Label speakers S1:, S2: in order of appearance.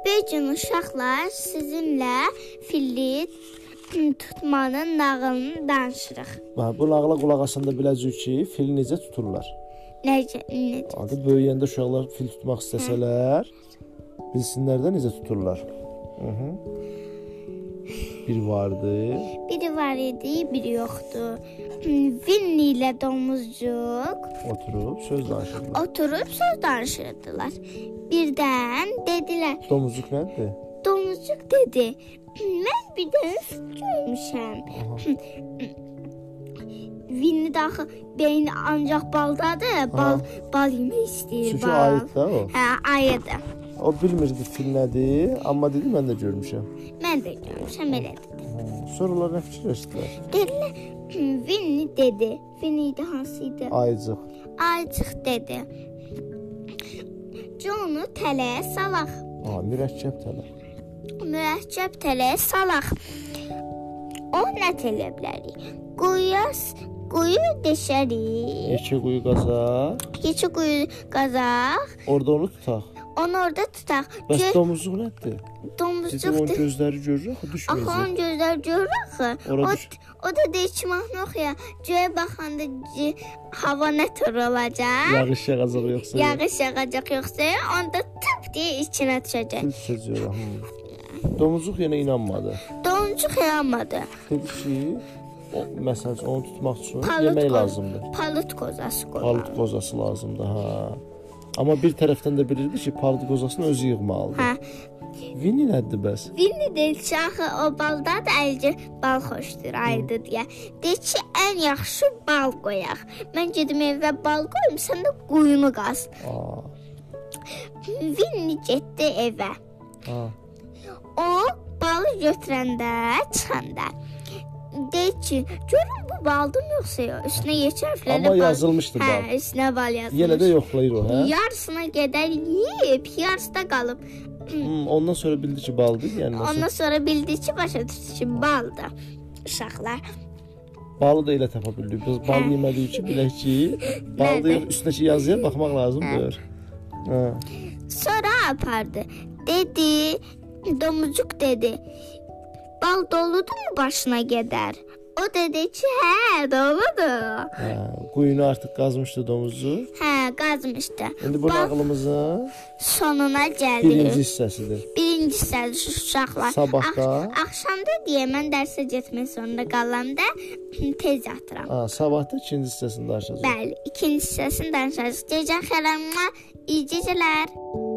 S1: İndi gün uşaqlar sizinlə filli tutmanın nağılını danışırıq.
S2: Və bu nağıla qulaq asanda biləcəyik ki, fil necə tuturlar.
S1: Necə? necə?
S2: Adı böyüyəndə uşaqlar fil tutmaq istəsələr, bilsinlər də necə tuturlar. Mhm. Bir vardı.
S1: Biri var idi, biri yoxdu. Vinni ilə domuzcuq
S2: Oturub söz danışırdılar.
S1: oturub söz danışırdılar. Birdən dedilər,
S2: Domuzluq nədir?
S1: domuzcuq dedi, mən bir dənə fil görmüşəm. Vinni də axı beyni ancaq baldadır, bal bal yemək istəyir
S2: Çünki
S1: bal.
S2: aid də o.
S1: Hə, ayıdır.
S2: O bilmirdi fil nədir, amma dedi mən də görmüşəm.
S1: Mən də görmüşəm elədir.
S2: Sorular nə fikirləşdilər?
S1: Dedilər, Vinni dedi. Vinni idi hansı idi?
S2: Aycıq.
S1: Aycıq dedi. Conu tələyə salaq.
S2: A, mürəkkəb tələ.
S1: Mürəkkəb tələyə salaq. O nə tələyə bilərik? Quyas, quyu deşərik.
S2: İki quyu qazaq,
S1: Keçi quyu qazaq,
S2: orada onu tutaq.
S1: onu orada tutaq.
S2: Bəs
S1: Gör,
S2: domuzluq nədir? Dedi
S1: domuzcuq
S2: onun
S1: de-
S2: gözləri görür,
S1: Axı
S2: axı düşməyəcək.
S1: onun gözləri görür axı.
S2: Ora
S1: O,
S2: düş-
S1: o da deyir ki, mahnı oxuya. Göyə baxanda c- hava nə tür olacaq?
S2: Yağış yağacaq yoxsa? yox?
S1: Yağış yağacaq yoxsa, onda tıp deyə içinə düşəcək.
S2: Fil sözüyor. Domuzluq yenə inanmadı.
S1: Donçuq yanmadı.
S2: Dedi ki, o, məsəl üçün onu tutmaq üçün
S1: Palıd
S2: yemək
S1: qoz-
S2: lazımdır.
S1: Palıd kozası qoymalı.
S2: Palıd qozası lazımdır, ha. Amma bir tərəfdən də bilirdi ki, palıd qozasını özü yığmalıdır.
S1: Hə.
S2: Vinni nədir bəs?
S1: Vinni deyir ki, axı o balda da əlcə bal xoşdur, aydı deyə. Deyir ki, ən yaxşı bal qoyaq. Mən gedim evə bal qoyum, sən də quyunu qaz.
S2: Aa,
S1: Vinni getdi evə.
S2: ha.
S1: O balı götürəndə, çıxanda deyir ki, görün bu baldır yoxsa yox. Üstünə yekə hərflərlə
S2: Amma yazılmışdı
S1: Hə,
S2: bal.
S1: üstünə bal yazılmış.
S2: Yenə də yoxlayır o, hə?
S1: Yarısına qədər yeyib, yarısı da qalıb.
S2: Hmm, ondan sonra bildi ki, baldır, yəni
S1: Ondan
S2: məsələn,
S1: sonra bildi ki, başa düşdü ki, baldır. Uşaqlar.
S2: balı da elə tapa bildi. Biz bal yemədiyi üçün bilək ki, baldır, yox, üstündəki yazıya baxmaq lazımdır. Hə.
S1: Sonra apardı. Dedi, domuzcuk dedi. Bal doludur mu başına gedər? O dedi ki, hə, doludur.
S2: Hə, quyunu artıq qazmışdı domuzu.
S1: Hə, qazmışdı.
S2: İndi bu
S1: Bal
S2: nağılımızın
S1: sonuna gəldi.
S2: birinci hissəsidir.
S1: Birinci sərdiş uşaqlar.
S2: Sabahda?
S1: Ax axşamda deyə mən dərsə getmək zorunda qalanda tez yatıram.
S2: Ha, sabahda ikinci hissəsini danışacağıq.
S1: Bəli, ikinci hissəsini danışacağıq. Gecən xeyirəm. İyi gecələr.